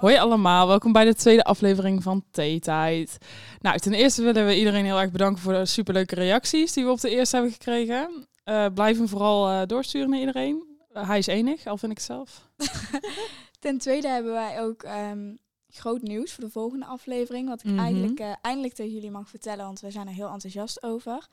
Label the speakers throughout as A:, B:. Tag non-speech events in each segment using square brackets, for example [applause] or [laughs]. A: Hoi allemaal, welkom bij de tweede aflevering van Theetijd. Nou, ten eerste willen we iedereen heel erg bedanken voor de superleuke reacties die we op de eerste hebben gekregen. Eh, blijf hem vooral eh, doorsturen naar iedereen. Eh, hij is enig, al vind ik het zelf.
B: Ten tweede hebben wij ook ehm, groot nieuws voor de volgende aflevering. Wat ik
A: Mhm.
B: eigenlijk eh, eindelijk tegen jullie mag vertellen, want we zijn er heel enthousiast over.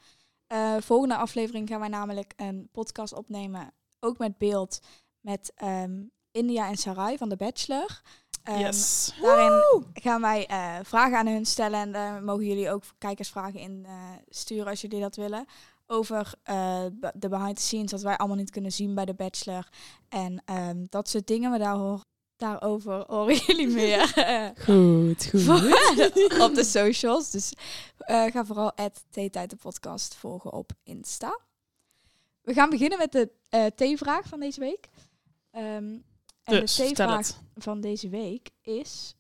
B: Eh, volgende aflevering gaan wij namelijk een podcast opnemen, ook met beeld, met ehm, India en Sarai van The Bachelor. Ehm,
A: yes.
B: Daarin gaan wij eh, vragen aan hun stellen en daar mogen jullie ook kijkersvragen in eh, sturen als jullie dat willen. Over eh, be- de behind the scenes, wat wij allemaal niet kunnen zien bij de Bachelor. En ehm, dat soort dingen, maar daar hoor, daarover horen [laughs] jullie meer eh,
A: Goed, goed.
B: [laughs] op de socials. Dus eh, ga vooral Theetijd de podcast volgen op Insta. We gaan beginnen met de eh T-vraag van deze week. Ehm, en
A: Dus,
B: de
A: vertel
B: T-vraag
A: het.
B: van deze week is...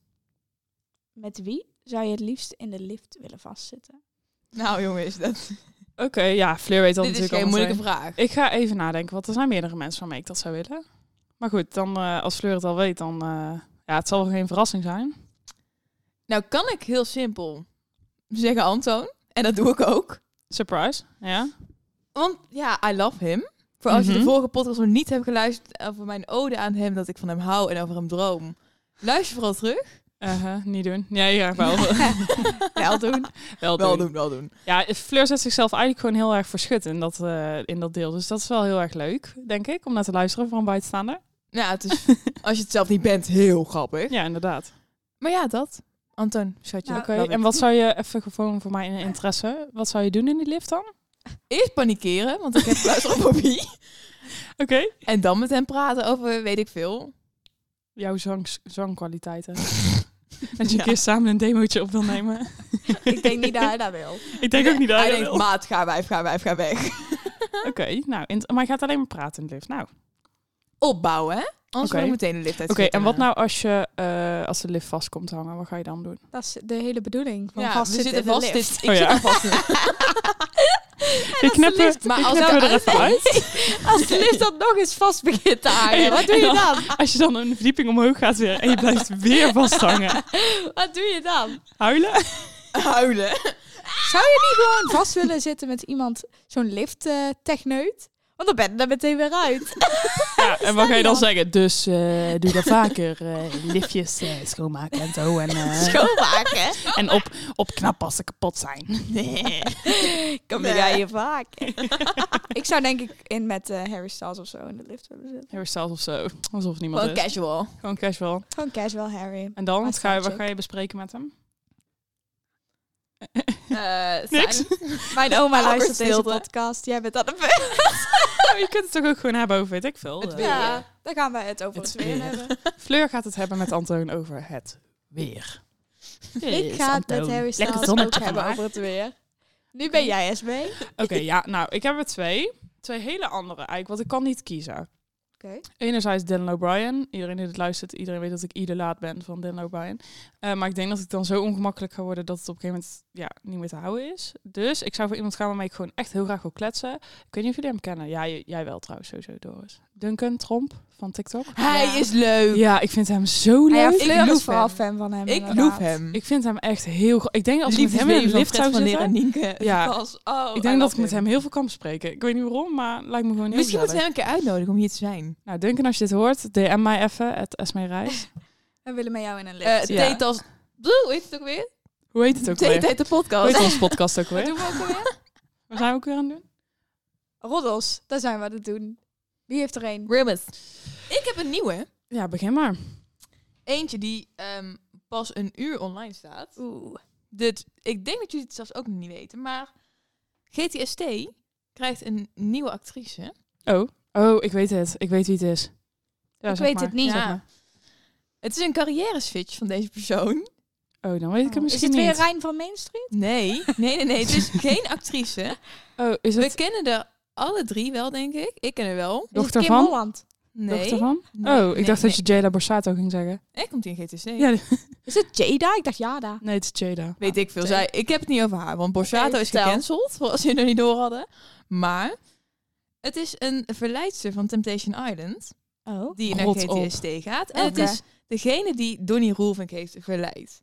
B: Met wie zou je het liefst in de lift willen vastzitten?
C: Nou jongens, dat,
A: Oké, ja, Fleur weet dat
C: dit is
A: natuurlijk
C: geen
A: al
C: moeilijke
A: meteen.
C: vraag.
A: Ik ga even nadenken, want er zijn meerdere mensen waarmee ik dat zou willen. Maar goed, dan, eh, als Fleur het al weet, dan... eh, ja, het zal wel geen verrassing zijn.
C: Nou kan ik heel simpel zeggen Antoon. En dat doe ik ook.
A: Surprise, ja.
C: Want ja, I love him. Voor als je
A: Mhm.
C: de vorige podcast nog niet hebt geluisterd over mijn ode aan hem, dat ik van hem hou en over hem droom. Luister vooral terug.
A: Uh-huh, niet doen. Ja, ja, wel.
C: Wel doen.
A: wel,
C: Wel
A: doen.
C: doen, wel doen.
A: Ja, Fleur zet zichzelf eigenlijk gewoon heel erg voor schut in dat, eh, in dat deel. Dus dat is wel heel erg leuk, denk ik, om naar te luisteren voor een buitenstaander.
C: Nou, het
A: [laughs]
C: is, als je het zelf niet bent, heel grappig.
A: Ja, inderdaad.
C: Maar ja, dat. Antoon, schatje.
B: Nou,
A: Oké,
C: love it.
A: en wat zou je, even gewoon voor mij in interesse, wat zou je doen in die lift dan?
C: Eerst panikeren, want ik heb
A: [laughs]
C: luisterfobie.
A: Oké.
C: En dan met hem praten over, weet ik veel.
A: Jouw zangs, [laughs] zangkwaliteiten. Dat je een keer samen een demootje op wil nemen.
B: Ik denk niet dat hij dat wil.
A: ik denk ook niet dat
C: Hij
A: hij dat wil.
C: denkt, maat, ga wijf, ga wijf, ga weg.
A: [laughs] Oké, nou, int- maar je gaat alleen maar praten in de lift. Nou, oké.
C: Opbouwen, hè? Anders
A: Oké.
C: word ik meteen de lift uit.
A: en wat nou als, je, eh, als de lift vast komt te hangen? Wat ga je dan doen?
B: [laughs] Dat is de hele bedoeling van
C: Ja, we
B: vastzitten
C: zitten
B: in de
C: vast.
B: lift.
C: Dit, ik
A: Oh ja.
C: zit er
A: [laughs]
C: vast in.
A: Ik knip
C: lift. Maar als
A: knippen we er even uit.
B: [laughs] Als de lift dat nog eens vast begint te hangen, wat doe
A: En
B: je [laughs] dan?
A: [laughs] Als je dan een verdieping omhoog gaat weer en je [laughs] blijft weer vasthangen.
B: Wat doe je dan?
A: Huilen?
C: Huilen.
A: Eh.
B: Zou je niet gewoon vast willen zitten met iemand, zo'n lift-techneut? Want dan ben je er meteen weer uit. [laughs]
A: Ja, en wat ga je dan
B: Sorry,
A: zeggen? Dus eh, doe dat vaker. eh, liftjes eh, schoonmaken en zo. En, eh,
C: Schoonmaken.
A: [laughs] en op, opknappen als ze kapot zijn.
C: Nee.
B: Kom
C: Nee.
B: jij hier vaak? [laughs] ik zou denk ik in met eh, Harry Styles of zo in de lift willen zitten.
A: Hairstyles of zo. Alsof niemand
C: Wel
A: is.
C: casual.
A: Gewoon casual.
B: Gewoon casual Harry.
A: En dan?
B: Maar
A: Wat ga, je, wat
B: snap je
A: ga je bespreken met hem? [laughs]
C: Eh,
A: Niks.
C: zijn-
B: Mijn oma
C: Awkward
B: luistert deze
C: stilte.
B: podcast. Jij bent aan de [laughs]
A: Oh, je kunt het toch ook gewoon hebben over, weet ik veel.
C: Het
A: eh,
C: weer.
B: Ja, daar gaan wij het over
A: Het
B: het weer
A: weer.
B: [laughs] hebben.
A: Fleur gaat het hebben met Antoon over het weer.
B: Ik ga het met Harry
A: Lekker
B: Styles ook
A: zonnetje
B: hebben
A: vandaag.
B: over het weer. Nu ben jij SB. Oké.
A: Oké, ja, nou, ik heb er twee. Twee hele andere eigenlijk, want ik kan niet kiezen. Enerzijds Dylan O'Brien. Iedereen die dit luistert, iedereen weet dat ik idolaat ben van Dylan O'Brien. Eh, maar ik denk dat ik dan zo ongemakkelijk ga worden dat het op een gegeven moment ja, niet meer te houden is. Dus ik zou voor iemand gaan waarmee ik gewoon echt heel graag wil kletsen. Ik weet niet of jullie hem kennen. Ja, j- jij wel trouwens, sowieso Doris. Duncan Tromp van TikTok.
C: Hij
B: Ja.
C: is leuk. Ah
A: Ja, ik vind hem zo
B: Nou ja,
A: leuk.
B: Fleur
C: loof
B: is vooral
C: hem.
B: fan van hem.
C: Ik
B: inderdaad.
C: loef hem.
A: Ik vind hem echt heel goed. Ik denk als ik met hem in een
C: Liefdesleven van
A: lift
C: Fred
A: zou
C: van Leer en
A: zitten...
C: Nienke.
A: Ja.
C: Was- [laughs] oh,
A: Ik
C: I
A: denk dat
C: love
A: ik met
C: him.
A: hem heel veel kan bespreken. Ik weet niet waarom, maar lijkt me gewoon heel
C: Misschien
A: gezellig.
C: moeten we hem een keer uitnodigen om hier te zijn.
A: Nou, Duncan, als je dit hoort, DM mij even, het Esme Reis.
B: We willen met jou in een lift.
C: Eh
A: Ja.
C: Theetas... Doe, weet je het ook weer?
A: Hoe heet
C: [laughs]
A: het ook weer?
C: Theetijd de
A: Hoe
C: podcast.
A: heet onze podcast ook
B: Wat
A: weer?
B: doen we ook alweer?
A: Waar zijn we ook weer aan het doen?
B: Roddels, daar zijn we aan het doen. Wie heeft er een?
C: Rumors. Ik heb een nieuwe.
A: Ja, begin maar.
C: Eentje die ehm, pas een uur online staat.
B: Oeh.
C: Dit, ik denk dat jullie het zelfs ook nog niet weten, maar GTST krijgt een nieuwe actrice.
A: Oh, oh, ik weet het. Ik weet wie het is. Ja,
B: Ik
A: zeg
B: weet
A: maar.
B: het niet.
A: Zeg
C: Ja.
A: maar.
C: Het is een carrière switch van deze persoon.
A: Oh, dan weet ik het
B: Oh, Is
A: misschien
B: het weer
A: niet.
B: Rijn van Main Street?
C: Nee, nee, nee, nee. Het
A: [laughs]
C: is geen actrice.
A: oh, is
C: We
A: het
C: kennen er alle drie wel, denk ik. Ik ken er wel.
B: Is het
A: Dochter
B: Kim
A: van?
B: Holland?
C: Nee.
A: dochter van?
C: Nee,
A: oh, ik
C: nee,
A: dacht dat je Jada Borsato ging zeggen.
C: Hij komt in GTST.
A: Ja,
B: Is het Jada? Ik dacht Jada.
A: nee, het is Jada.
C: Weet ik veel. Zij, ik heb het niet over haar, want Borsato
B: Oké,
C: is
B: vertel.
C: gecanceld. Voor als jullie het nog niet door hadden. Maar Het is een verleidster van Temptation Island.
B: Oh.
C: Die naar
A: Rot op.
C: GTSD gaat. En
B: Oké.
C: het is degene die Donnie Roelvink heeft verleid.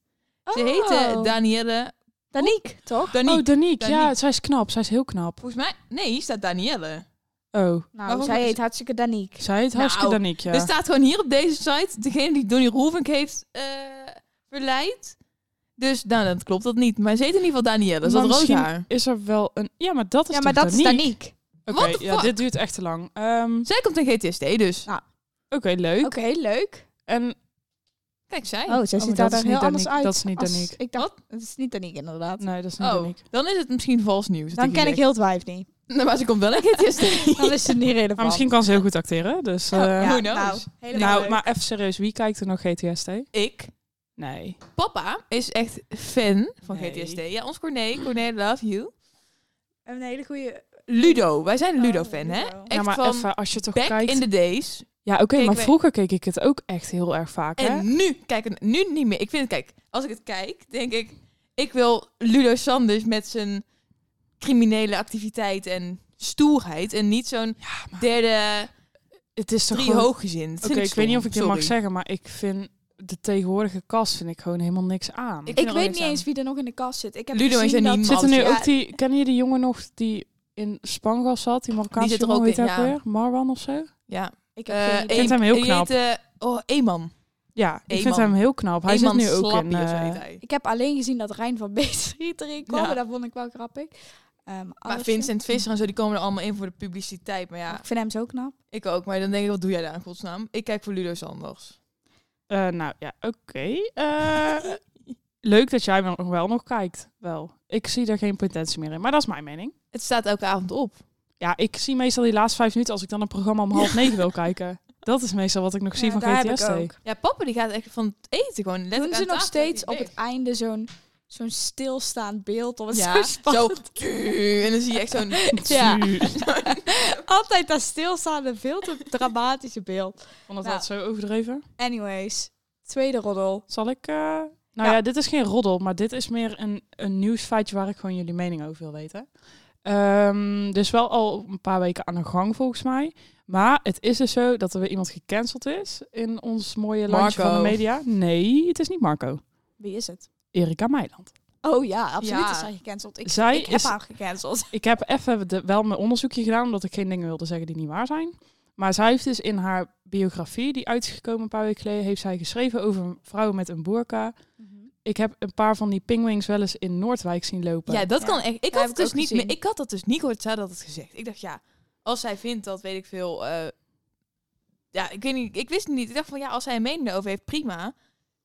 C: Ze heette
B: Oh.
C: Danielle...
B: Daniek, toch?
C: Danique.
A: Oh, Danique. Ja,
C: Danique.
A: zij is knap. Zij is heel knap.
C: Volgens mij... Nee, hier staat Danielle.
A: Oh,
B: Nou,
C: Waarom
B: zij
C: is-
B: heet hartstikke Daniek.
A: zij het hartstikke
C: Nou,
A: Danique, ja.
C: Er staat gewoon hier op deze site... Degene die Donnie Roelvink heeft eh, verleid. Dus nou, dan klopt dat niet. Maar ze heet in ieder geval Danielle. Ze
A: Maar
C: had rood
A: misschien
C: haar.
A: Is er wel een... Ja, maar dat is
B: Ja, maar
A: toch
B: dat is
A: Danique?
B: Daniek.
A: Oké,
C: What the
A: ja,
C: fuck?
A: dit duurt echt te lang. Ehm, Oké,
C: Zij komt in GTSD dus.
A: leuk.
B: Oké, leuk.
A: En
C: Kijk, zij.
B: Oh, zij
A: Oh,
B: ziet
A: maar
B: daar
A: dat is
B: dan
A: niet
B: heel anders
A: Danique. Dat
B: uit.
A: is niet
B: als-
A: Danique.
B: Ik dacht, het is niet Daniek inderdaad.
A: nee, dat is niet
C: Oh,
A: Danique.
C: dan is het misschien vals nieuws.
B: Dan ken ik heel het wijf
C: [laughs]
B: niet.
C: Nou, maar ze komt wel in
B: [laughs]
C: GTSD.
B: Dan is het niet relevant.
A: Maar misschien kan ze heel goed acteren, dus... eh,
C: Oh, ja.
A: [laughs]
C: who knows?
B: Nou, helemaal
A: Nou,
B: leuk.
A: maar even serieus, wie kijkt er nog GTSD?
C: ik.
A: Nee.
C: Papa is echt fan van
A: Nee.
C: GTSD. Ja, ons Corné. Corné, love you.
B: We hebben een hele goede...
C: Ludo. Wij zijn een
B: Oh,
C: Ludo-fan, hè?
B: Ludo.
C: Echt
A: Ja, Nou, maar
C: van
A: even, als je toch
C: back
A: kijkt...
C: in the days.
A: Ja, oké,
C: Kijk,
A: maar
C: we-
A: vroeger keek ik het ook echt heel erg vaak, hè?
C: En nu, kijk, het- nu niet meer. Ik vind het, kijk, als ik het kijk, denk ik... Ik wil Ludo Sanders met zijn criminele activiteit en stoerheid. En niet zo'n
A: Ja, maar
C: derde
A: het is toch
C: drie
A: gewoon-
C: hooggezind.
A: Oké, ik weet niet of ik dit mag zeggen, maar ik vind de tegenwoordige kast vind ik gewoon helemaal niks aan.
C: Ik-
B: Ik
C: er
B: weet
C: niks
B: niet
C: aan.
B: eens wie er nog in de kast zit. Ik heb
C: Ludo en
B: gezien dat...
C: Janine.
A: Zitten nu
C: Ja.
A: ook die, kennen jullie die jongen nog die in Spangas zat, die Marokkaanse
C: Die zit er
A: jongen,
C: ook
A: hoe heet
C: in,
A: hij ook
C: ja.
A: weer? Marwan of zo?
C: Ja.
B: Ik heb
C: Eh,
B: geen idee.
A: vind hem heel
C: die
A: knap.
C: heet, eh, oh, Eeman.
A: Ja, ik vind
C: Eeman.
A: hem heel knap. Hij
C: Eeman
A: zit nu ook
C: Slappie
A: in.
C: of zo
A: eh,
C: heet hij.
B: Ik heb alleen gezien dat Rijn van [laughs] Beestrie erin kwam.
C: Ja.
B: maar Dat vond ik wel grappig. Ehm,
C: Maar
B: alles-
C: Vincent Visser en zo, die komen er allemaal in voor de publiciteit. Maar ja,
B: Ik vind hem zo knap.
C: ik ook. Maar dan denk ik, wat doe jij daar in godsnaam? Ik kijk voor Ludo Sanders.
A: eh, nou ja, oké.
B: [laughs]
A: Eh, leuk dat jij nog wel nog kijkt. Wel, ik zie er geen potentie meer in, maar dat is mijn mening.
C: Het staat elke avond op.
A: Ja, ik zie meestal die laatste vijf minuten als ik dan een programma om half negen wil kijken. Dat is meestal wat ik nog zie
B: Ja,
A: van
B: daar heb ik
A: GTSD.
B: ook.
C: Ja, papa die gaat echt van het eten gewoon. letterlijk
B: Doen
C: aan
B: ze nog
C: tafel
B: steeds
C: dat
B: op
C: hij
B: het einde zo'n zo'n stilstaand beeld? Of
C: leeft.
B: het zo
C: ja, zo,
B: spannend.
C: en dan zie je echt zo'n...
B: Ja. [laughs]
A: Ik
B: Altijd dat stilstaande, veel te dramatische beeld.
A: Vond
B: [laughs]
A: dat
B: Nou.
A: dat zo overdreven?
B: Anyways, tweede roddel.
A: Zal ik... eh, Nou ja.
B: Ja.
A: dit is geen roddel, maar dit is meer een, een nieuwsfeitje waar ik gewoon jullie mening over wil weten. Ehm, dus wel al een paar weken aan de gang volgens mij. Maar het is dus zo dat er weer iemand gecanceld is in ons mooie landje van de
C: Marco.
A: media. Nee, het is niet Marco.
B: Wie is het?
A: Erika Meiland.
B: Oh ja, absoluut
C: Ja.
B: is zij gecanceld. Ik,
A: Zij
B: ik heb
A: is-
B: haar gecanceld.
A: Ik heb even de- wel mijn onderzoekje gedaan, omdat ik geen dingen wilde zeggen die niet waar zijn. Maar zij heeft dus in haar biografie, die uitgekomen een paar weken geleden, heeft zij geschreven over een vrouw met een burka. Ik heb een paar van die pingwings wel eens in Noordwijk zien lopen.
C: [laughs] Ja, dat
B: Ja.
C: kan echt. Ik
B: Ja,
C: had,
B: heb
C: het
B: ik
C: dus
B: ook
C: niet
B: gezien.
C: meer, ik had dat dus niet gehoord. Zij had het gezegd. Ik dacht, ja, als zij vindt dat, weet ik veel... eh, ja, ik weet niet. Ik wist het niet. Ik dacht van, ja, als zij een mening over heeft, prima.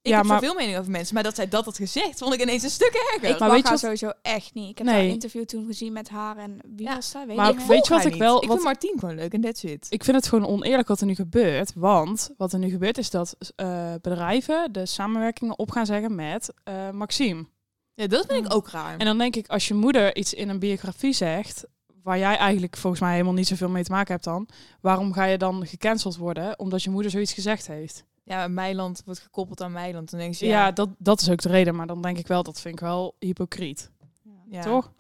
C: Ik
A: Ja,
C: heb
A: maar-
C: zoveel mening over mensen. Maar dat zij dat had gezegd, vond ik ineens een stuk erger.
A: Maar
B: Ik maar
A: weet je
B: haar
A: wat-
B: sowieso echt niet. Ik heb
A: Nee.
B: haar interview toen gezien met haar en wie
C: Ja,
B: was dat? Weet
A: maar
B: ik
A: ik
B: niet.
A: weet- je
C: Volg
A: wat
C: haar
A: ik
C: niet.
A: wel-
C: Ik
A: wat-
C: vind Martien gewoon leuk en that's it.
A: Ik vind het gewoon oneerlijk wat er nu gebeurt. Want wat er nu gebeurt is dat eh, bedrijven de samenwerkingen op gaan zeggen met eh Maxime.
C: Ja, dat vind ik ook raar.
A: En dan denk ik, als je moeder iets in een biografie zegt, waar jij eigenlijk volgens mij helemaal niet zoveel mee te maken hebt dan, waarom ga je dan gecanceld worden omdat je moeder zoiets gezegd heeft? Dus
C: Ja, maar Meiland wordt gekoppeld aan Meiland. Dan denk je,
A: Ja,
C: ja,
A: dat, dat is ook de reden, maar dan denk ik wel, dat vind ik wel hypocriet,
C: ja.
A: toch?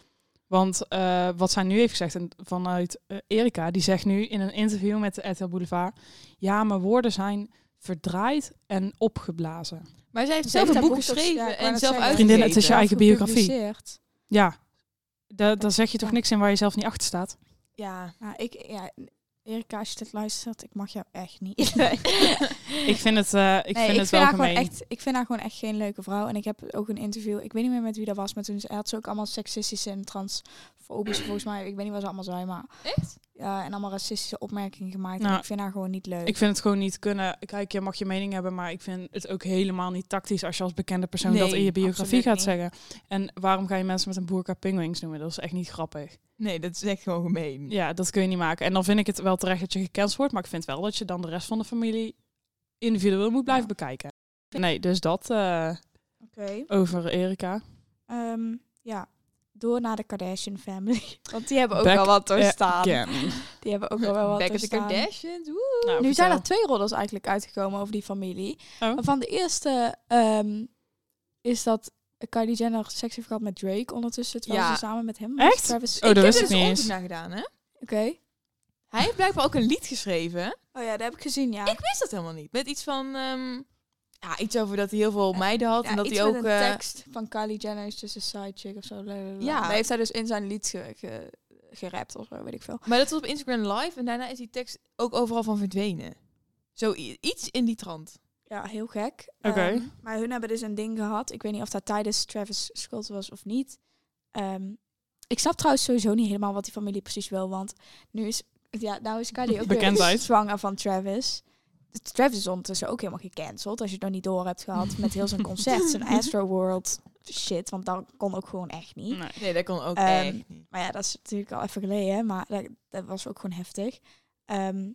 A: Want eh, wat zij nu heeft gezegd en vanuit eh, Erika, die zegt nu in een interview met de RTL Boulevard, ja, mijn woorden zijn verdraaid en opgeblazen.
C: Maar zij heeft
B: Ze
C: zelf
B: heeft
C: een
B: haar
C: boek
B: boek toch-
C: geschreven
B: ja, ik wou
C: en
B: net
C: zelf
B: zeggen.
C: uitgegeven.
A: Vriendinnen, het is je eigen biografie.
B: Gepubliceerd.
A: Ja, da- daar zeg je toch
B: Ja.
A: niks in waar je zelf niet achter staat?
C: Ja.
B: Nou, ik, ja, Erika, als je dit luistert, ik mag jou echt niet. [laughs]
A: [laughs] Ik vind het, eh, ik
B: Nee,
A: vind het wel
B: haar gewoon
A: gemeen.
B: echt, ik vind haar gewoon echt geen leuke vrouw. En ik heb ook een interview, ik weet niet meer met wie dat was, maar toen ze- had ze ook allemaal seksistische en transfobische, volgens mij, ik weet niet wat ze allemaal zijn, maar...
C: Echt?
B: ja, en allemaal racistische opmerkingen gemaakt.
A: Nou,
B: en ik vind haar gewoon niet leuk.
A: Ik vind het gewoon niet kunnen. Kijk, je mag je mening hebben, maar ik vind het ook helemaal niet tactisch als je als bekende persoon dat
C: Nee,
A: in je biografie
C: absoluut
A: gaat
C: niet.
A: zeggen. En waarom ga je mensen met een boerka pingwings noemen? Dat is echt niet grappig.
C: Nee, dat is echt gewoon gemeen.
A: Ja, dat kun je niet maken. En dan vind ik het wel terecht dat je gecanceld wordt, maar ik vind wel dat je dan de rest van de familie individueel moet blijven bekijken. Nee, dus dat eh,
B: Oké.
A: over Erika.
B: Ehm, ja, door naar de Kardashian family. [laughs] Want die hebben ook
A: Back
B: wel wat doorstaan.
A: Again.
B: Die hebben ook al wel wat
C: Back at the
B: doorstaan.
C: Kardashians, woe.
A: Nou,
B: Nu
A: vertel.
B: zijn er twee roddels eigenlijk uitgekomen over die familie.
A: Oh.
B: Van de eerste ehm, is dat Kylie Jenner seks heeft gehad met Drake ondertussen, terwijl
C: Ja.
B: ze samen met hem was.
A: Echt?
B: Travis-
A: Oh, dat
C: ik heb
A: wist
C: er
A: ik
C: dus
A: niet eens.
C: onderzoek naar gedaan, hè?
B: Oké.
C: Hij heeft blijkbaar ook een lied geschreven.
B: Oh ja, dat heb ik gezien, ja.
C: Ik wist dat helemaal niet. Met iets van... ehm, ja, iets over dat hij heel veel meiden had.
B: Ja,
C: en dat
B: iets
C: hij ook...
B: met
C: eh,
B: een tekst van Kylie Jenner is dus een side chick of zo. blablabla.
C: Ja.
B: Maar heeft hij dus in zijn lied ge, ge- gerapt of zo, weet ik veel.
C: Maar dat was op Instagram live. En daarna is die tekst ook overal van verdwenen. Zoiets in die trant.
B: Ja, heel gek.
A: Oké.
B: Ehm, maar hun hebben dus een ding gehad. Ik weet niet of dat tijdens Travis schuld was of niet. Ehm, ik snap trouwens sowieso niet helemaal wat die familie precies wil. Want nu is, ja, nou is Kylie ook weer
A: Bekendheid.
B: zwanger van Travis. Travis is ondertussen ook helemaal gecanceld. Als je het nog niet door hebt gehad met heel zijn
A: [laughs]
B: concert. Zijn Astro World shit. Want dat kon ook gewoon echt niet.
A: Nee.
C: Nee, dat kon ook
B: Ehm,
C: echt niet.
B: Maar ja, dat is natuurlijk al even geleden, hè, maar dat, dat was ook gewoon heftig. Ehm,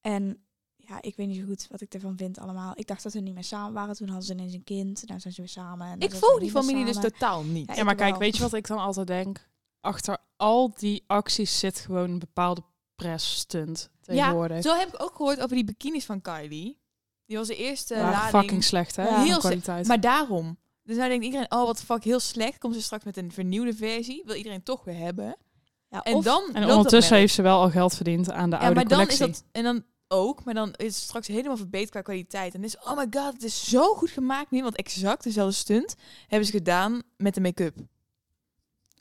B: en ja, ik weet niet zo goed wat ik ervan vind allemaal. Ik dacht dat ze niet meer samen waren. Toen hadden ze ineens een kind. Nou zijn ze weer samen. en nou
C: Ik
B: zijn
C: volg
B: ze
C: die
B: weer
C: familie dus
B: samen.
C: totaal niet.
B: Ja,
A: Ja, maar
B: ik
A: kijk,
B: wel.
A: weet je wat ik dan altijd denk? Achter al die acties zit gewoon een bepaalde pressstunt tegenwoordig.
C: Ja, zo heb ik ook gehoord over die bikinis van Kylie. Die was de eerste
A: Waren
C: lading.
A: fucking slecht, hè?
B: Ja.
A: aan
C: Heel slecht.
A: kwaliteit.
C: Maar daarom. Dus nou denkt iedereen, oh wat fuck, heel slecht. Komt ze straks met een vernieuwde versie. Wil iedereen toch weer hebben.
B: Ja,
C: En
B: of-
C: dan loopt
A: en
C: dat
A: ondertussen
C: merk.
A: heeft ze wel al geld verdiend aan de
C: Ja,
A: oude
C: maar dan is
A: collectie.
C: dat... En dan ook, maar dan is het straks helemaal verbeterd qua kwaliteit. En dan is oh my god, het is zo goed gemaakt. Niemand exact dezelfde stunt hebben ze gedaan met de make-up.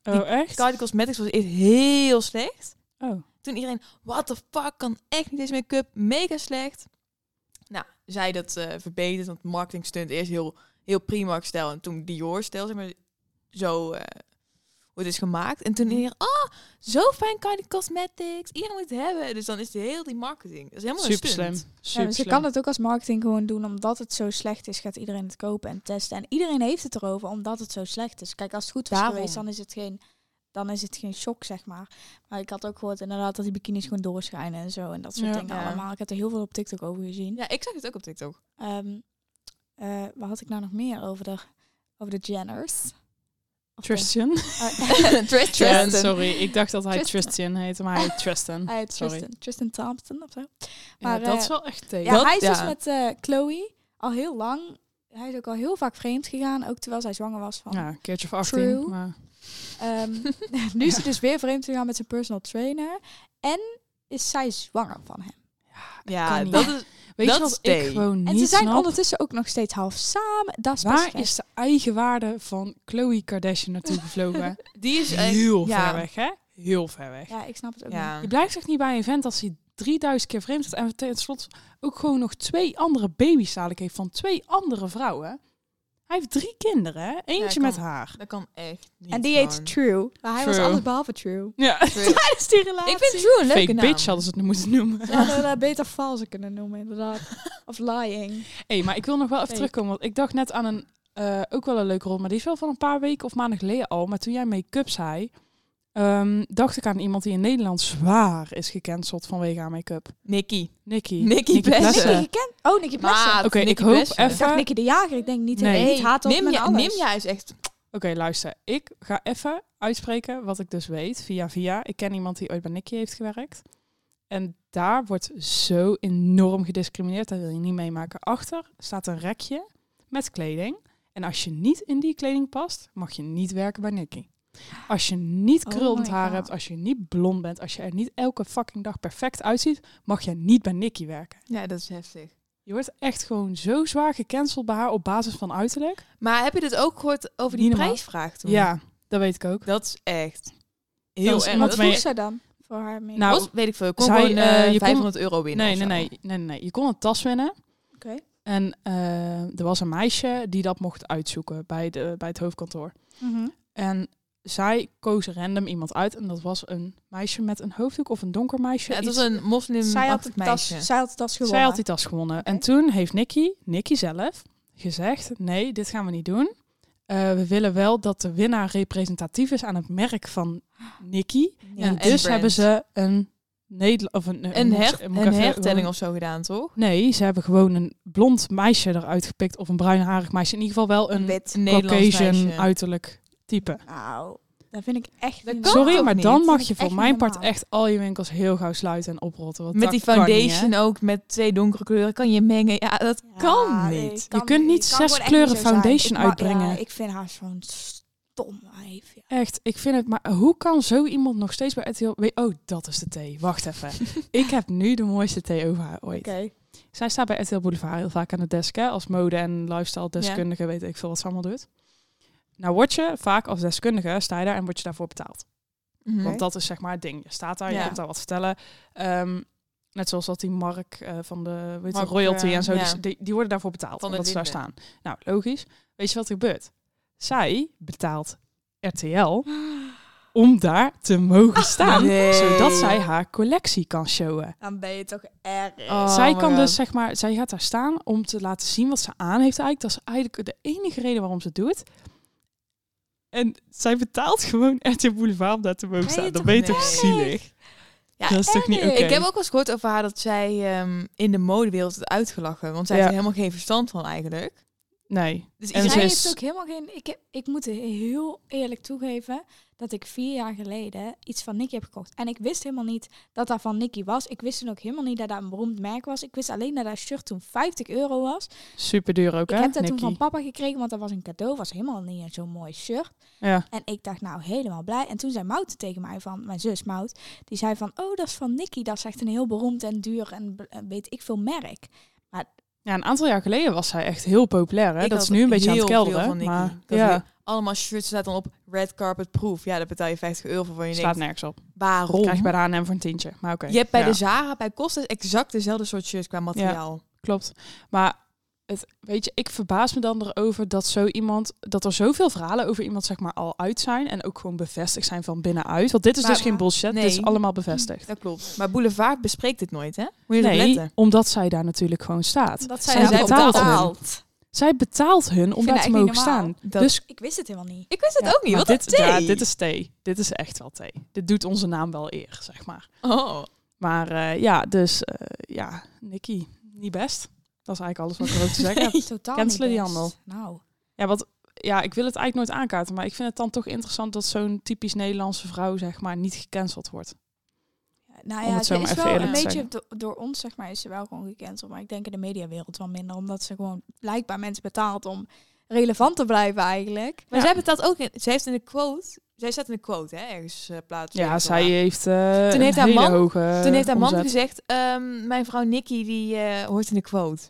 A: Oh, echt?
C: Kylie Cosmetics was eerst heel slecht.
A: Oh.
C: Toen iedereen, what the fuck, kan echt niet deze make-up, mega slecht. Nou, zij dat eh, verbeterd, want marketing stunt eerst heel, heel Primark-stijl en toen Dior-stijl, zeg maar, zo eh hoe het is gemaakt. En
A: Mhm.
C: toen iedereen, oh, zo fijn Kylie Cosmetics, iedereen moet het hebben. Dus dan is de heel die marketing, dat is helemaal
A: Super
C: een stunt.
A: slim.
B: Ja,
A: Super
B: maar ze kan het ook als marketing gewoon doen. Omdat het zo slecht is, gaat iedereen het kopen en testen. En iedereen heeft het erover, omdat het zo slecht is. Kijk, als het goed was
C: Daarom.
B: geweest, dan is het geen... Dan is het geen shock, zeg maar. Maar ik had ook gehoord inderdaad dat die bikinis gewoon doorschijnen en zo. En dat soort
A: Ja.
B: dingen
C: Ja.
B: allemaal. Ik heb er heel veel op TikTok over gezien.
C: Ja, ik zag het ook op
A: [laughs]
C: TikTok.
B: Ehm eh, wat had ik nou nog meer over de, over de Jenners? Of
A: Tristan.
B: de- eh,
C: [laughs]
B: [laughs]
A: Ja,
C: Tristan.
A: sorry, ik dacht dat hij
B: Tristan.
A: Tristan heette, maar hij heet Tristan.
B: hij heet
A: Sorry.
B: Tristan, Tristan Thompson of zo.
A: Ja,
B: maar,
A: dat
B: eh,
A: is wel echt tegen.
B: Ja,
C: Dat-
B: hij is dus
C: ja.
B: met eh, Chloe al heel lang. Hij is ook al heel vaak vreemd gegaan, ook terwijl zij zwanger was van.
A: Ja, een keertje of
B: True.
A: 18. Maar [laughs]
B: Ehm, [laughs] nu is hij dus weer vreemd gegaan met zijn personal trainer. En is zij zwanger van hem.
A: Kan
C: Ja,
A: niet.
C: dat is...
A: weet
C: Dat
A: je wat
C: is
A: ik
C: thee.
A: gewoon niet
B: En ze zijn
A: snap?
B: ondertussen ook nog steeds half samen. Dat is best
A: Waar
B: gek.
A: is de eigenwaarde van Chloe Kardashian naartoe gevlogen?
C: Die is echt...
A: Heel
C: ja.
A: ver weg, hè? Heel ver weg.
B: Ja, ik snap het ook niet.
C: Ja.
A: Je blijft toch niet bij een vent als hij 3000 keer vreemd is en tenslotte ook gewoon nog twee andere baby's dadelijk heeft van twee andere vrouwen. Hij heeft drie kinderen, hè? eentje
C: kan.
A: met haar.
C: Dat kan echt niet.
B: En die heet
C: man.
B: True. Maar hij was
A: True.
B: alles behalve True.
A: [laughs] Ja.
C: True.
B: Hij is die relatie.
C: Ik vind True een leuke
A: Fake
C: naam.
A: bitch hadden ze het moeten [laughs] noemen.
B: Ja, dat hadden we beter valse kunnen noemen, inderdaad. [laughs] Of lying.
A: Hé, maar ik wil nog wel even
B: Fake.
A: terugkomen, want ik dacht net aan een, eh, ook wel een leuke rol, maar die is wel van een paar weken of maanden geleden al. Maar toen jij make-up zei, ehm, dacht ik aan iemand die in Nederland zwaar is gecanceld vanwege haar make-up.
C: Nicky.
A: Nicky.
C: Nicky
B: Nicky
C: Plessen.
A: Plessen.
B: gekend? Oh, Nicky Plessen.
C: Maat,
A: Oké,
C: Nicky
A: ik hoop
C: Plessen.
A: even-
B: Ik dacht Nicky de Jager. Ik denk niet,
A: Nee.
B: nee. haat op met
C: Nimja,
B: alles.
C: Nimja is echt...
A: Oké, luister. Ik ga even uitspreken wat ik dus weet via via. Ik ken iemand die ooit bij Nicky heeft gewerkt. En daar wordt zo enorm gediscrimineerd. Dat wil je niet meemaken. Achter staat een rekje met kleding. En als je niet in die kleding past, mag je niet werken bij Nicky. Als je niet
B: Oh
A: krullend
B: my
A: haar
B: God.
A: hebt, als je niet blond bent, als je er niet elke fucking dag perfect uitziet, mag je niet bij Nicky werken.
C: Ja, dat is heftig.
A: Je wordt echt gewoon zo zwaar gecanceld bij haar op basis van uiterlijk.
C: Maar heb je dit ook gehoord over die
A: Niet normaal.
C: prijsvraag toen?
A: Ja, dat weet ik ook.
C: Dat is echt heel
A: is
C: erg.
A: iemand
B: Wat
C: Dat
A: mee-
B: vroeg
A: je-
B: zij dan voor haar mee?
A: Nou,
C: was, weet ik veel. Ik kon
A: Zij,
C: gewoon
A: eh,
C: eh,
A: je kon-
C: 500 euro binnen
A: Nee,
C: of
A: nee,
C: zo.
A: nee, nee, nee. Je kon een tas winnen.
B: Oké.
A: En eh, er was een meisje die dat mocht uitzoeken bij, de, bij het hoofdkantoor.
B: Mhm.
A: En zij koos random iemand uit. En dat was een meisje met een hoofddoek of een donker meisje.
C: Ja, het
A: iets.
C: was een moslim
B: zij, had de tas,
C: meisje.
B: zij had de tas gewonnen.
A: Zij had die tas gewonnen. En
B: Oké.
A: toen heeft Nicky, Nicky zelf, gezegd... Nee, dit gaan we niet doen. Eh, we willen wel dat de winnaar representatief is aan het merk van Nicky.
B: Ja,
A: en
B: en
A: dus
C: brand.
A: hebben ze een... Nederla- of een,
C: Een,
A: moet ik-
C: her,
A: moet ik
C: een
A: even-
C: hertelling of zo gedaan, toch?
A: Nee, ze hebben gewoon een blond meisje eruit gepikt. Of een bruinharig meisje. In ieder geval wel een
B: Wit.
C: Een Nederlands
A: Caucasian
C: meisje.
A: uiterlijk type.
B: Nou, dat vind ik echt
C: Dat
B: niet
C: kan
A: Sorry,
C: toch
A: maar
C: niet?
A: dan mag
B: Vind
A: je
B: ik
A: voor
B: echt
A: mijn
B: niet
A: part
B: normaal.
A: echt al je winkels heel gauw sluiten en oprotten. want
C: Met
A: dat
C: die
A: kan niet, hè?
C: foundation ook, met twee donkere kleuren. Kan je mengen? Ja, dat
B: Ja,
C: kan
B: nee,
C: niet.
B: kan
A: kunt niet
B: Kan
A: zes
B: gewoon echt niet
A: kleuren
B: zo zijn.
A: foundation
B: Ik ma-
A: uitbrengen.
B: Ja, ik vind haar zo'n dom wijf. Ja.
A: Echt, ik vind het. Maar hoe kan zo iemand nog steeds bij RTL... we- Oh, dat is de thee. Wacht
C: [laughs]
A: even. ik heb nu de mooiste thee over haar ooit. Zij staat bij RTL Boulevard heel vaak aan de desk, hè, als mode- en lifestyle-deskundige, weet ik veel wat ze allemaal doet. Nou word je vaak als deskundige, sta je daar en word je daarvoor betaald.
C: Mhm.
A: Want dat is zeg maar het ding. Je staat daar, je
C: Ja.
A: komt daar wat vertellen. Ehm, net zoals dat die Mark eh, van de weet je,
C: Mark,
A: royalty
C: eh,
A: en zo, dus
C: ja.
A: die, die, die worden daarvoor betaald.
C: Van de
A: Omdat ze daar
C: Linden.
A: staan. Nou, logisch. Weet je wat er gebeurt? Zij betaalt
C: [gasps]
A: RTL om daar te mogen staan.
C: Ah, nee.
A: Zodat zij haar collectie kan showen.
B: Dan ben je toch erg.
C: Oh
A: zij
C: my
A: kan
C: God.
A: dus zeg maar, zij gaat daar staan om te laten zien wat ze aan heeft eigenlijk. Dat is eigenlijk de enige reden waarom ze het doet. En zij betaalt gewoon RTL Boulevard om daar te mogen
C: Ben je
A: staan. Dat
C: toch
A: ben je toch
C: erg?
A: zielig?
C: Ja, eh,
A: dat is toch niet oké?
B: erg.
C: Ik heb ook wel eens gehoord over haar dat zij ehm, in de modewereld werd uitgelachen. Want zij
A: Ja.
C: heeft er helemaal geen verstand van eigenlijk.
A: Nee.
C: Dus
A: En ze
B: En zij
C: iedereen...
A: is-
B: heeft ook helemaal geen. Ik, heb, ik moet heel eerlijk toegeven dat ik vier jaar geleden iets van Nicky heb gekocht. En ik wist helemaal niet dat dat van Nicky was. Ik wist toen ook helemaal niet dat dat een beroemd merk was. Ik wist alleen dat dat shirt toen 50 euro was.
A: Super duur ook, hè?
B: ik heb dat toen
A: Nicky?
B: van papa gekregen, want dat was een cadeau. was helemaal niet zo'n mooi shirt.
A: Ja.
B: En ik dacht nou helemaal blij. En toen zei Mout tegen mij van, mijn zus Mout, die zei van, oh dat is van Nicky. Dat is echt een heel beroemd en duur en b- en weet ik veel merk.
A: ja, een aantal jaar geleden was zij echt heel populair, hè?
C: Ik
A: dat
C: had
A: is nu een beetje aan het
C: heel veel
A: kelderen.
C: van Nicky.
A: maar
C: Dat
A: ja,
C: ik- Allemaal shirts staat dan op red carpet proof. Ja, daar betaal je 50 euro voor. Van je
A: slaat
C: denkt,
A: nergens op.
C: waarom?
A: Krijg je bij de H&M voor een tientje. Maar oké.
C: Je hebt bij
A: ja.
C: de Zara, bij Costa exact dezelfde soort shirts qua materiaal.
A: Klopt. Maar het, weet je, ik verbaas me dan erover dat zo iemand, dat er zoveel verhalen over iemand zeg maar al uit zijn en ook gewoon bevestigd zijn van binnenuit. Want dit is
C: Maar-
A: dus geen bullshit,
C: nee.
A: dit is allemaal bevestigd.
C: Dat klopt. Maar Boulevard bespreekt dit nooit, hè? Moet je erop
A: Nee,
C: letten.
A: omdat zij daar natuurlijk gewoon staat.
B: Dat
A: zij
B: daarvoor
A: betaalt hem.
B: betaalt.
A: Zij betaalt hun om
B: vind
A: daar
B: dat
A: te
B: echt niet
A: mogen
B: normaal.
A: staan.
C: Dat-
A: dus
B: Ik wist het
A: [laughs]
B: helemaal niet.
C: Ik wist het
A: Ja,
C: ook niet.
A: maar
C: Wat
A: dit,
C: een thee.
A: ja, dit is thee. Dit is echt wel thee. Dit doet onze naam wel eer, zeg maar.
C: Oh.
A: Maar eh, ja, dus eh, ja, Nicky, niet best. Dat is eigenlijk alles wat ik erover te
C: [laughs]
A: zeggen heb.
B: Totaal
A: Cancelen
B: niet
A: die
B: best.
A: handel.
B: Nou.
A: Ja, want ja, ik wil het eigenlijk nooit aankaarten, maar ik vind het dan toch interessant dat zo'n typisch Nederlandse vrouw, zeg maar, niet gecanceld wordt.
B: Nou
A: Om
B: ja,
A: het zo
B: ze
A: maar
B: is
A: even
B: wel
A: eerlijk
B: een
A: te
B: beetje do- door ons, zeg maar, is ze wel gewoon gecanceld. Maar ik denk in de mediawereld wel minder, omdat ze gewoon blijkbaar mensen betaalt om relevant te blijven eigenlijk.
C: Maar
A: Ja.
C: zij betaalt ook... in- Zij heeft in de quote... Zij staat in de quote, hè? Ergens eh, plaats.
A: Ja,
C: ergens
A: zij
C: op.
A: heeft eh
C: Toen heeft
A: een
C: haar
A: hele
C: man-
A: hoge
C: Toen heeft haar man
A: Eh, omzet.
C: gezegd... ehm, mijn vrouw Nikki, die eh, hoort in de quote.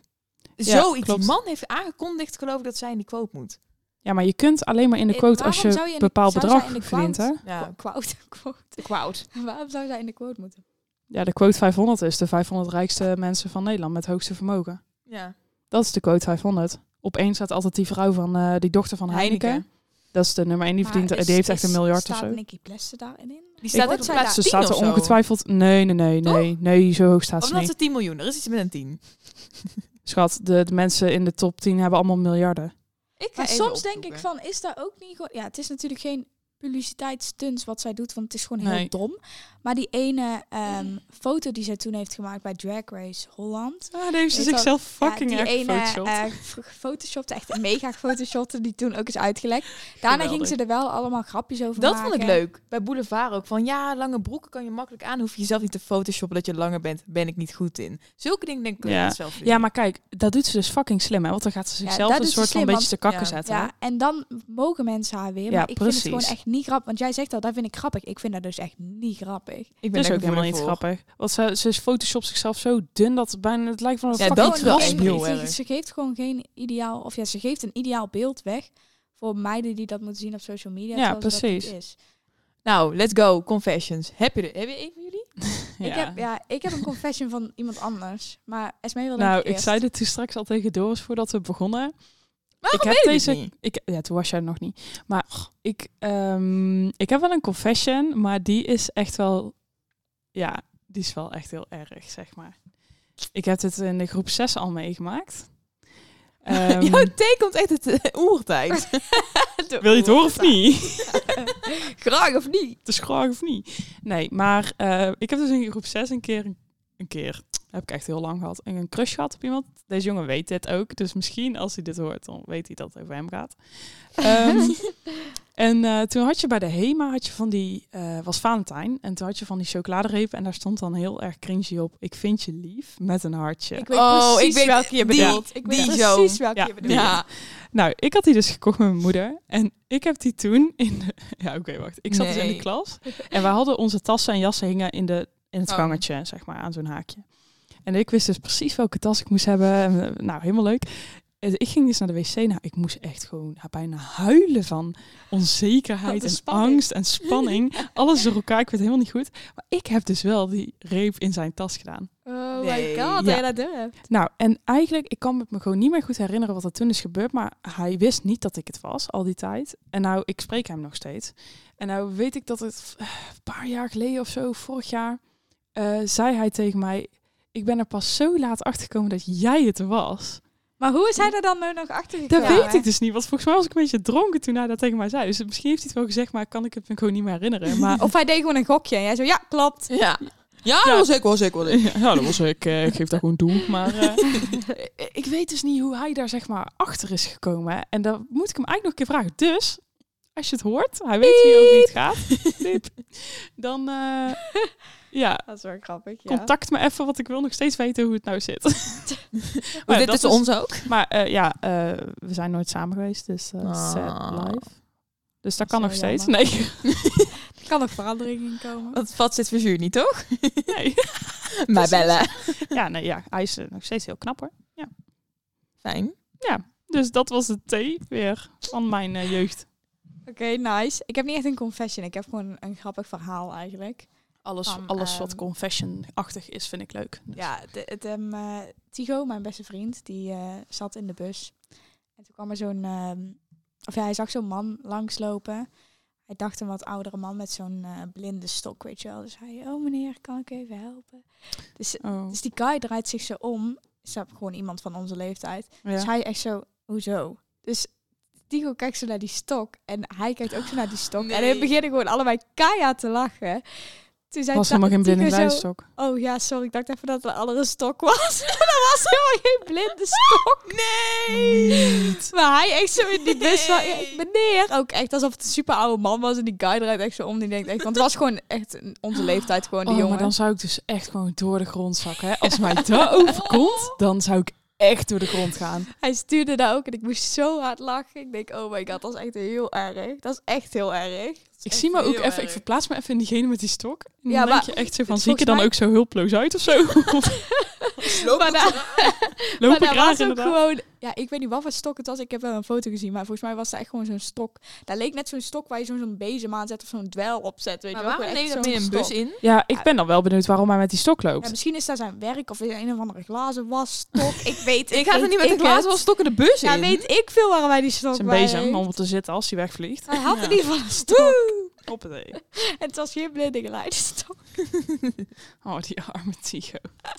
A: Ja,
C: Zoiets.
A: klopt.
C: Die man heeft aangekondigd, geloof ik, dat zij in die quote moet.
A: Ja, maar je kunt alleen maar in de
B: Eh,
A: quote als
B: waarom zou
A: je
B: je
A: een
B: in de-
A: bepaald
B: zou
A: bedrag
B: zij in de
A: verdient, hè?
B: quote?
C: Ja.
B: Quote, [laughs] quote.
C: Quote.
B: Waarom zou zij in de quote moeten?
A: Ja, de quote 500 is de 500 rijkste mensen van Nederland met het hoogste vermogen.
C: Ja.
A: Dat is de quote 500. Op één staat altijd die vrouw van eh, die dochter van Heineken.
C: Heineken.
A: Dat is de nummer 1 die
B: Maar
A: verdient.
B: is-
A: die heeft echt
B: is-
A: een miljard of
B: staat
A: zo.
B: Nicky Plessen daarin in?
C: Die staat
B: Wordt
C: echt op
B: zij
C: plaats
A: Ze
C: 10
A: staat er
C: of zo.
A: ongetwijfeld. Nee, nee, nee, nee. Nee, zo hoog staat
C: Of
A: ze
C: omdat
A: niet.
C: ze 10 miljoen. Er is iets met een 10.
A: Schat, de, de mensen in de top 10 hebben allemaal miljarden.
C: Ik ga
B: Maar
C: even
B: soms denk ik
C: opzoeken.
B: van, is daar ook niet gewoon... Ja, het is natuurlijk geen publiciteitsstunts wat zij doet, want het is gewoon
A: Nee.
B: heel dom. Maar die
C: Mm.
B: ene ehm, foto die zij toen heeft gemaakt bij Drag Race Holland...
A: Ah, daar heeft
B: ze Weet je zichzelf
A: fucking
B: ja, die
A: erg
B: ene eh, f- gefotoshopte, echt mega gefotoshopte, die toen ook is uitgelekt. Daarna
A: Geweldig.
B: ging ze er wel allemaal grapjes over
C: Dat
B: maken.
C: vond ik leuk. Bij Boulevard ook. Van ja, lange broeken kan je makkelijk aan. Hoef je jezelf niet te photoshoppen dat je langer bent. Ben ik niet goed in. Zulke dingen denk
A: Ja.
C: ik ja. zelf doen.
A: Ja, maar kijk, dat doet ze dus fucking slim, hè? Want dan gaat ze
B: Ja,
A: zichzelf
B: dat
A: een
B: doet ze
A: soort van
B: slim,
A: beetje te kakken
C: ja,
A: zetten.
B: Ja, en dan mogen mensen haar
A: Ja,
B: weer. maar ik vind het
A: precies.
B: gewoon echt niet grappig. Want jij zegt al, dat vind ik grappig. Ik vind dat dus echt niet grappig.
C: ik
A: Dat is
C: daar
A: ook helemaal niet
C: voor.
A: grappig. Want ze, ze Photoshop zichzelf zo dun dat het bijna het lijkt van een
C: Ja,
A: fucking
C: dat is wel
A: gras-
C: echt
B: Gewoon-
C: heel
B: ze,
C: erg.
B: ze geeft gewoon geen ideaal... Of ja, ze geeft een ideaal beeld weg voor meiden die dat moeten zien op social media.
A: Ja,
B: terwijl ze dat
A: precies.
B: niet is.
C: Nou, let's go. Confessions. Heb je er? Heb je een van jullie?
B: Ik, heb, ja, ik heb een confession van iemand anders. Maar Esmee wil denk
A: Nou, ik
B: eerst.
A: zei dit toen straks al tegen Doris voordat we begonnen.
C: Waarom
A: ik heb
C: Oh, weet ik
A: deze.
C: niet?
A: Ik, ja, toen was jij er nog niet. Maar ik, ehm, ik heb wel een confession, maar die is echt wel. Ja, die is wel echt heel erg, zeg maar. Ik heb dit in de groep 6 al
C: [laughs]
A: meegemaakt. Ehm,
C: Jouw thee komt echt uit de [laughs] oertijd.
A: wil je het horen of niet?
B: Graag of
A: [laughs]
B: niet?
A: Het is graag of niet. Nee, maar eh, ik heb dus in groep 6 een keer. Een keer. heb ik echt heel lang gehad. En een crush gehad op iemand. Deze jongen weet dit ook. Dus misschien als hij dit hoort, dan weet hij dat het over hem gaat. Ehm, en eh, toen had je bij de HEMA, had je van die, eh, was Valentijn. En toen had je van die chocoladerepen. En daar stond dan heel erg cringy op. Ik vind je lief met een hartje.
B: [laughs] Ik weet
C: Oh,
B: precies
C: ik weet
B: welke je
C: die-
B: bedoelt. ik weet
C: die zo.
B: precies welke
A: Ja,
B: je bedoelt.
C: Ja.
A: Nou, ik had die dus gekocht met mijn moeder. En ik heb die toen in de... [laughs] Ja, oké, wacht. Ik zat dus in
C: Nee.
A: de
B: [laughs]
A: klas. En wij hadden onze tassen en jassen hingen in, de, in het
C: Oh.
A: gangetje, zeg maar, aan zo'n haakje. En ik wist dus precies welke tas ik moest hebben. En, eh, nou, helemaal leuk. En ik ging dus naar de wc. Nou, ik moest echt gewoon bijna huilen van onzekerheid
B: Wat een
A: en
B: spanning.
A: angst
B: [laughs]
A: en spanning. Alles door elkaar. Ik weet het helemaal niet goed. Maar ik heb dus wel die reep in zijn tas gedaan.
B: Oh
C: Nee.
B: my god,
A: Ja.
B: dat jij dat durft.
A: Nou, en eigenlijk, ik kan het me gewoon niet meer goed herinneren wat er toen is gebeurd, maar hij wist niet dat ik het was al die tijd. En nou, ik spreek hem nog steeds. En nou weet ik dat het eh, een paar jaar geleden of zo, vorig jaar, eh, zei hij tegen mij, ik ben er pas zo laat achter gekomen dat jij het was.
B: Maar hoe is hij er dan nou nog achter
A: Dat
B: gekomen?
A: weet ik dus niet, want volgens mij was ik een beetje dronken toen hij dat tegen mij zei. Dus misschien heeft hij het wel gezegd, maar kan ik het me gewoon niet meer herinneren. Maar
B: Of hij deed gewoon een gokje en jij zo, ja, klopt.
C: Ja. Nou. Ja,
A: Ja.
C: dat was ik, was ik, was ik.
A: [laughs] Ja, dat was ik. eh, Ik geef daar gewoon toe. Maar eh, [laughs] ik weet dus niet hoe hij daar zeg maar achter is gekomen. En dan moet ik hem eigenlijk nog een keer vragen. Dus, als je het hoort, hij weet hier ook niet [laughs] gaat. Piep. Dan, eh, [laughs] ja,
B: Dat is wel grappig, ja.
A: contact me even, want ik wil nog steeds weten hoe het nou zit. [laughs] Maar
C: Maar
A: ja,
C: dit
A: dat
C: is ons ook.
A: Maar eh, ja, eh, we zijn nooit samen geweest, dus eh, sad
C: Ah.
A: life. Dus dat kan
B: Zo
A: nog steeds.
B: jammer.
A: Nee.
B: Kan er verandering in komen?
A: Oh.
C: Want vat zit voor niet, toch?
A: nee. [laughs]
C: Maar bellen.
A: Ja, nee, ja, hij is eh, nog steeds heel knap hoor.
C: Fijn.
A: Dus dat was de thee weer van mijn eh, jeugd.
B: Oké, nice. Ik heb niet echt een confession. Ik heb gewoon een grappig verhaal eigenlijk.
A: Alles,
B: Van,
A: alles wat
B: ehm,
A: confession-achtig is, vind ik leuk. Dus-
B: Ja, de, het, ehm, eh, Tigo, mijn beste vriend, die eh, zat in de bus. En toen kwam er zo'n... ehm, of ja, hij zag zo'n man langslopen. Hij dacht een wat oudere man met zo'n eh, blinde stok, weet je wel. Dus hij, oh meneer, kan ik even helpen? Dus,
A: Oh,
B: dus die guy draait zich zo om. Is dat gewoon iemand van onze leeftijd? Dus
A: ja.
B: hij echt zo, hoezo? Dus Tigo kijkt zo naar die stok en hij kijkt ook zo naar die stok. En
C: Nee.
B: we beginnen gewoon allebei keihard te lachen. Toen zei
A: was
B: Ta-
A: helemaal geen blinde
B: Tigo zo,
A: leidstok.
B: Oh ja, sorry, ik dacht even dat het een andere stok was. [laughs] dat was helemaal geen blinde stok.
C: Nee!
B: Maar hij echt zo in die bus van, ja,
C: Nee.
B: meneer. Ook echt alsof het een super oude man was en die guy draait echt zo om. Die denkt echt, want het was gewoon echt een- onze leeftijd gewoon, die
A: Oh,
B: jongen.
A: maar dan zou ik dus echt gewoon door de grond zakken. Hè? Als mij dat overkomt, dan zou ik echt door de grond gaan.
B: Hij stuurde daar ook en ik moest zo hard lachen. Ik denk, oh my god, dat is echt heel erg. Dat is echt heel erg.
A: Ik
C: echt
A: zie me ook
C: heel
A: even, ik
C: erg.
A: verplaats me even in diegene met die stok. En dan
B: Ja,
A: denk
B: maar-
A: je echt zo van,
B: volgens
A: zie ik er dan
B: mij-
A: ook zo hulploos uit
B: [laughs]
A: of zo? Of
C: Loop
B: Maar daar-
A: Loop ik
B: maar daar
A: raar
B: was ook
A: inderdaad?
B: gewoon... Ja, ik weet niet wat voor stok het was. Ik heb wel een foto gezien. Maar volgens mij was het echt gewoon zo'n stok. Daar leek net zo'n stok waar je zo'n zo'n bezem aan zet of zo'n dwel op zet. Weet
C: Maar
B: je wel. Gewoon
C: waarom neem
B: echt
C: je dat
B: zo'n
C: mee in een bus
B: stok.
C: in?
A: Ja, ik ben dan wel benieuwd waarom hij met die stok
B: Ja,
A: loopt.
B: misschien is daar zijn werk of een of andere glazen was stok. ik
C: [laughs]
B: weet
C: Ik ga er
B: weet
C: niet met een
B: ik
C: glazen
B: het.
C: stok in de bus
B: Ja,
C: in.
B: weet ik veel waarom hij die stok
A: Zijn
B: bij
A: bezem
B: heeft.
A: om op te zitten als hij wegvliegt.
B: Hij had
A: Ja.
B: in ieder geval een stok.
A: Hoppatee.
B: En het was geen blinde geleidstok.
C: [laughs]
A: Oh, die arme Tigo.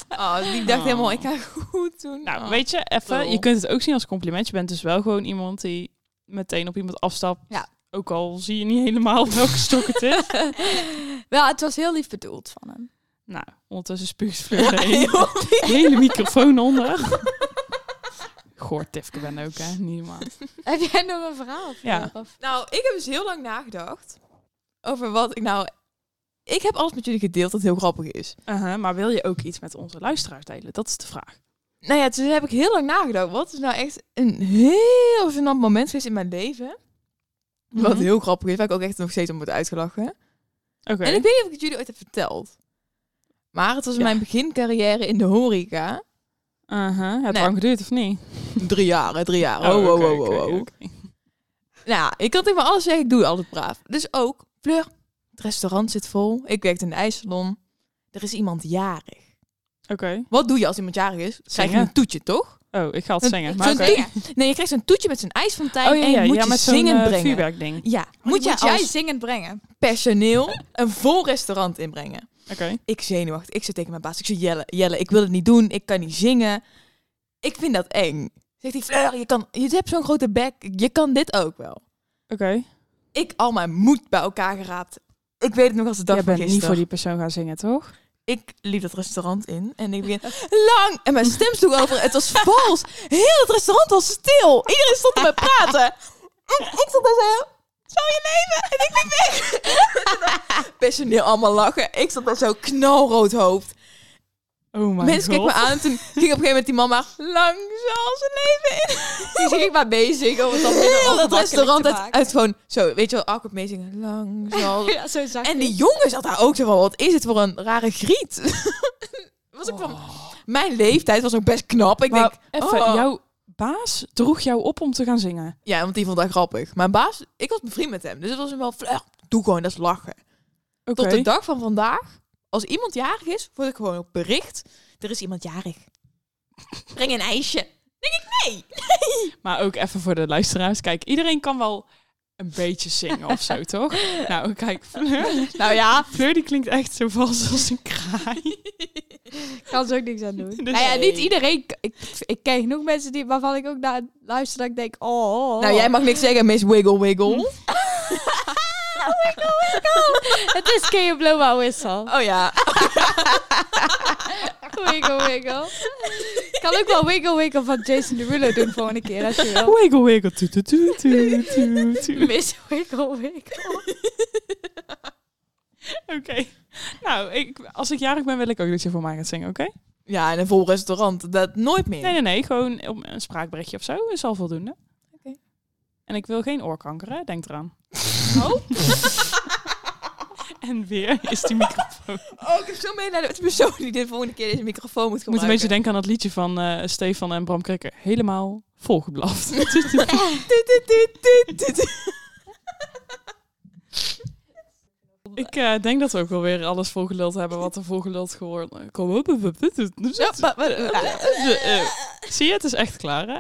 C: Oh, die dacht
A: Oh.
C: helemaal, ik ga goed doen.
A: Nou,
C: [laughs] Oh.
A: weet je, even,
C: lul.
A: je kunt het ook zien als compliment. Je bent dus wel gewoon iemand die meteen op iemand afstapt.
B: Ja.
A: Ook al zie je niet helemaal welke stok het is.
B: [laughs] Wel, het was heel lief bedoeld van hem.
A: nou, ondertussen spuugt Fleur er heen. De hele microfoon onder. Goor Tifke ben ook, hè. Niet normaal.
B: [laughs] Heb jij nog een verhaal?
A: Ja.
B: Fleur, of-
C: Nou, ik heb dus heel lang nagedacht over wat ik nou... Ik heb alles met jullie gedeeld dat heel grappig is.
A: Uh-huh, maar wil je ook iets met onze luisteraars delen? Dat is de vraag.
C: Nou ja, toen heb ik heel lang nagedacht. Wat is nou echt een heel gênant moment geweest in mijn leven? Wat
A: Mhm.
C: heel grappig is, waar ik ook echt nog steeds om word uitgelachen.
A: Oké.
C: En ik weet niet of ik het jullie ooit heb verteld. Maar het was in
A: Ja.
C: mijn begincarrière in de horeca.
A: Uh-huh. Het
C: Nee.
A: lang geduurd, of niet?
C: Drie jaar, hè, drie jaar.
A: oké,
C: Oh, oh, oh,
A: oké,
C: oh, oh.
A: oké.
C: Nou, ja, ik kan tegen me alles zeggen, ik doe het altijd braaf. Dus ook, Fleur, het restaurant zit vol. Ik werk in de ijssalon. Er is iemand jarig.
A: Oké.
C: Wat doe je als iemand jarig is? Krijg je
A: Zingen.
C: een toetje, toch?
A: Oh, ik ga het
C: Een-
A: zingen.
C: ik
A: Maar
C: vind
A: oké.
C: het Nee, je krijgt zo'n toetje met zo'n ijsfontein
A: Oh ja,
C: en je
A: ja,
C: moet
A: ja
C: je
A: met zo'n
C: zingen
A: eh, Oh,
C: brengen.
A: vuurwerkding.
C: Ja, moet, je
B: moet jij
C: als
B: zingend
C: [laughs]
B: brengen?
C: personeel een vol restaurant inbrengen.
A: Oké.
C: Ik zenuwachtig, ik zit tegen mijn baas, ik zeg Jelle, Jelle, ik wil het niet doen, ik kan niet zingen. Ik vind dat eng. Zegt hij, Fleur, je, kan, je hebt zo'n grote bek, je kan dit ook wel.
A: Oké.
C: Ik al mijn moed bij elkaar geraapt. Ik weet het nog als de dag
A: Jij
C: van
A: bent niet
C: gisteren.
A: voor die persoon gaan zingen, toch?
C: ik liep dat restaurant in en ik begin lang. En mijn stem sloeg over. Het was vals. Heel het restaurant was stil. Iedereen stond te me praten. En ik stond daar zo. Zou je leven? En ik liep weg. [laughs] Personeel allemaal lachen. Ik stond daar zo knalrood hoofd.
A: Oh my
C: Mensen keken
A: god.
C: me aan en toen ging op een gegeven moment die mama lang zal zijn leven in.
D: Die ging ik maar bezig om het dan minder
C: Heel dat
D: ongemakkelijk
C: restaurant
D: te
C: uit,
D: maken.
C: uit gewoon zo, weet je wel, awkward meezingen. Lang zal
D: Ja, zo zag
C: En
D: ik.
C: die jongen zat daar ook zo van, wat is het voor een rare griet? [laughs] was ik van, mijn leeftijd was ook best knap. Ik
A: Oh. Maar
C: denk,
A: even,
C: oh.
A: jouw baas droeg jou op om te gaan zingen.
C: ja, want die vond dat grappig. Mijn baas, ik was bevriend met hem, dus het was hem wel, vlug, doe gewoon, dat is lachen.
A: Oké.
C: Tot de dag van vandaag, als iemand jarig is, word ik gewoon op bericht, er is iemand jarig. Breng een ijsje. [laughs]
A: Maar ook even voor de luisteraars. Kijk, iedereen kan wel een beetje zingen of [laughs] zo, toch? Nou, kijk, [laughs] Fleur,
C: Nou ja,
A: Fleur die klinkt echt zo vals als een kraai.
D: Ik kan ze ook niks aan
A: [laughs]
D: doen.
A: Dus-
D: nou ja, niet iedereen. Ik, ik ken genoeg mensen die, waarvan ik ook naar luister dat ik denk, oh. oh.
C: nou jij mag niks zeggen, Miss Wiggle Wiggle.
A: Mm.
D: Oh [laughs] Het is Can You Blow My Whistle.
C: Oh ja.
D: [laughs] Wiggle, wiggle. Ik kan ook wel Wiggle, wiggle van Jason Derulo doen volgende keer, als je
A: [laughs]
D: wil.
A: Wiggle, wiggle, tu, tu, tu, tu, tu, tu.
D: Miss Wiggle, wiggle.
A: [laughs] Oké. Nou, ik, als ik jarig ben, wil ik ook dat je voor mij gaat zingen, oké?
C: Ja, en een vol restaurant, dat nooit meer.
A: Nee, nee, nee. Gewoon om- een spraakberichtje of zo is al voldoende.
C: Oké.
A: En ik wil geen oorkanker, hè? Denk eraan. [laughs] En weer is die microfoon.
C: Oh, ik heb zo mee naar de persoon die dit volgende keer deze microfoon moet
A: Ik
C: gebruiken.
A: moet een beetje denken aan dat liedje van eh, Stefan en Bram Krikker. Helemaal volgeblaft.
C: Tuut, tuut, tuut, tuut, tuut.
A: ik eh, denk dat we ook wel weer alles volgeluld hebben wat er volgeluld geworden Kom op.
C: Ja, maar- maar- maar-
A: Eh, eh. Zie je, het is echt klaar, hè?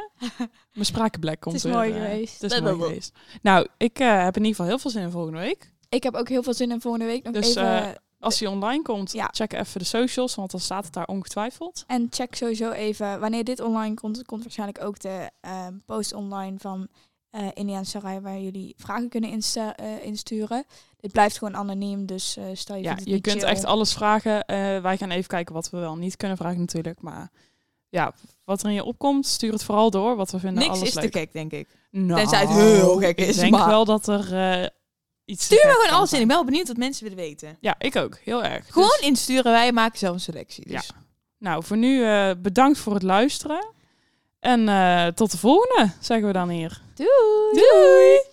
A: Mijn sprakenblek komt
D: is
A: weer,
D: mooi
A: eh,
D: geweest.
A: Het is mooi geweest. Nou, ik eh, heb in ieder geval heel veel zin in volgende week.
B: Ik heb ook heel veel zin in volgende week. Nog
A: Dus,
B: even,
A: eh, Als die online komt,
B: Ja.
A: check even de socials, want dan staat het daar ongetwijfeld.
B: en check sowieso even, wanneer dit online komt, komt waarschijnlijk ook de eh, post online van eh Indiaan Sarai, waar jullie vragen kunnen insta- eh, insturen. Dit blijft gewoon anoniem, dus eh, stel je
A: Ja,
B: vindt het
A: je
B: niet
A: kunt
B: chill.
A: echt alles vragen. Eh, wij gaan even kijken wat we wel niet kunnen vragen natuurlijk. Maar ja, wat er in je opkomt, stuur het vooral door. Wat we vinden
C: Niks
A: alles
C: is
A: leuk.
C: te gek, denk ik.
A: Nou,
C: Tenzij het heel gek is,
A: Ik denk
C: maar-
A: wel dat er eh, iets... te
C: Stuur me
A: gek
C: gewoon
A: kan
C: alles in.
A: zijn.
C: Ik ben wel benieuwd wat mensen willen weten.
A: Ja, ik ook. Heel erg. Dus-
C: Gewoon insturen, wij maken zelf een selectie. Dus.
A: nou, voor nu eh, bedankt voor het luisteren. En eh, tot de volgende, zeggen we dan hier.
D: Doei.
A: Doei!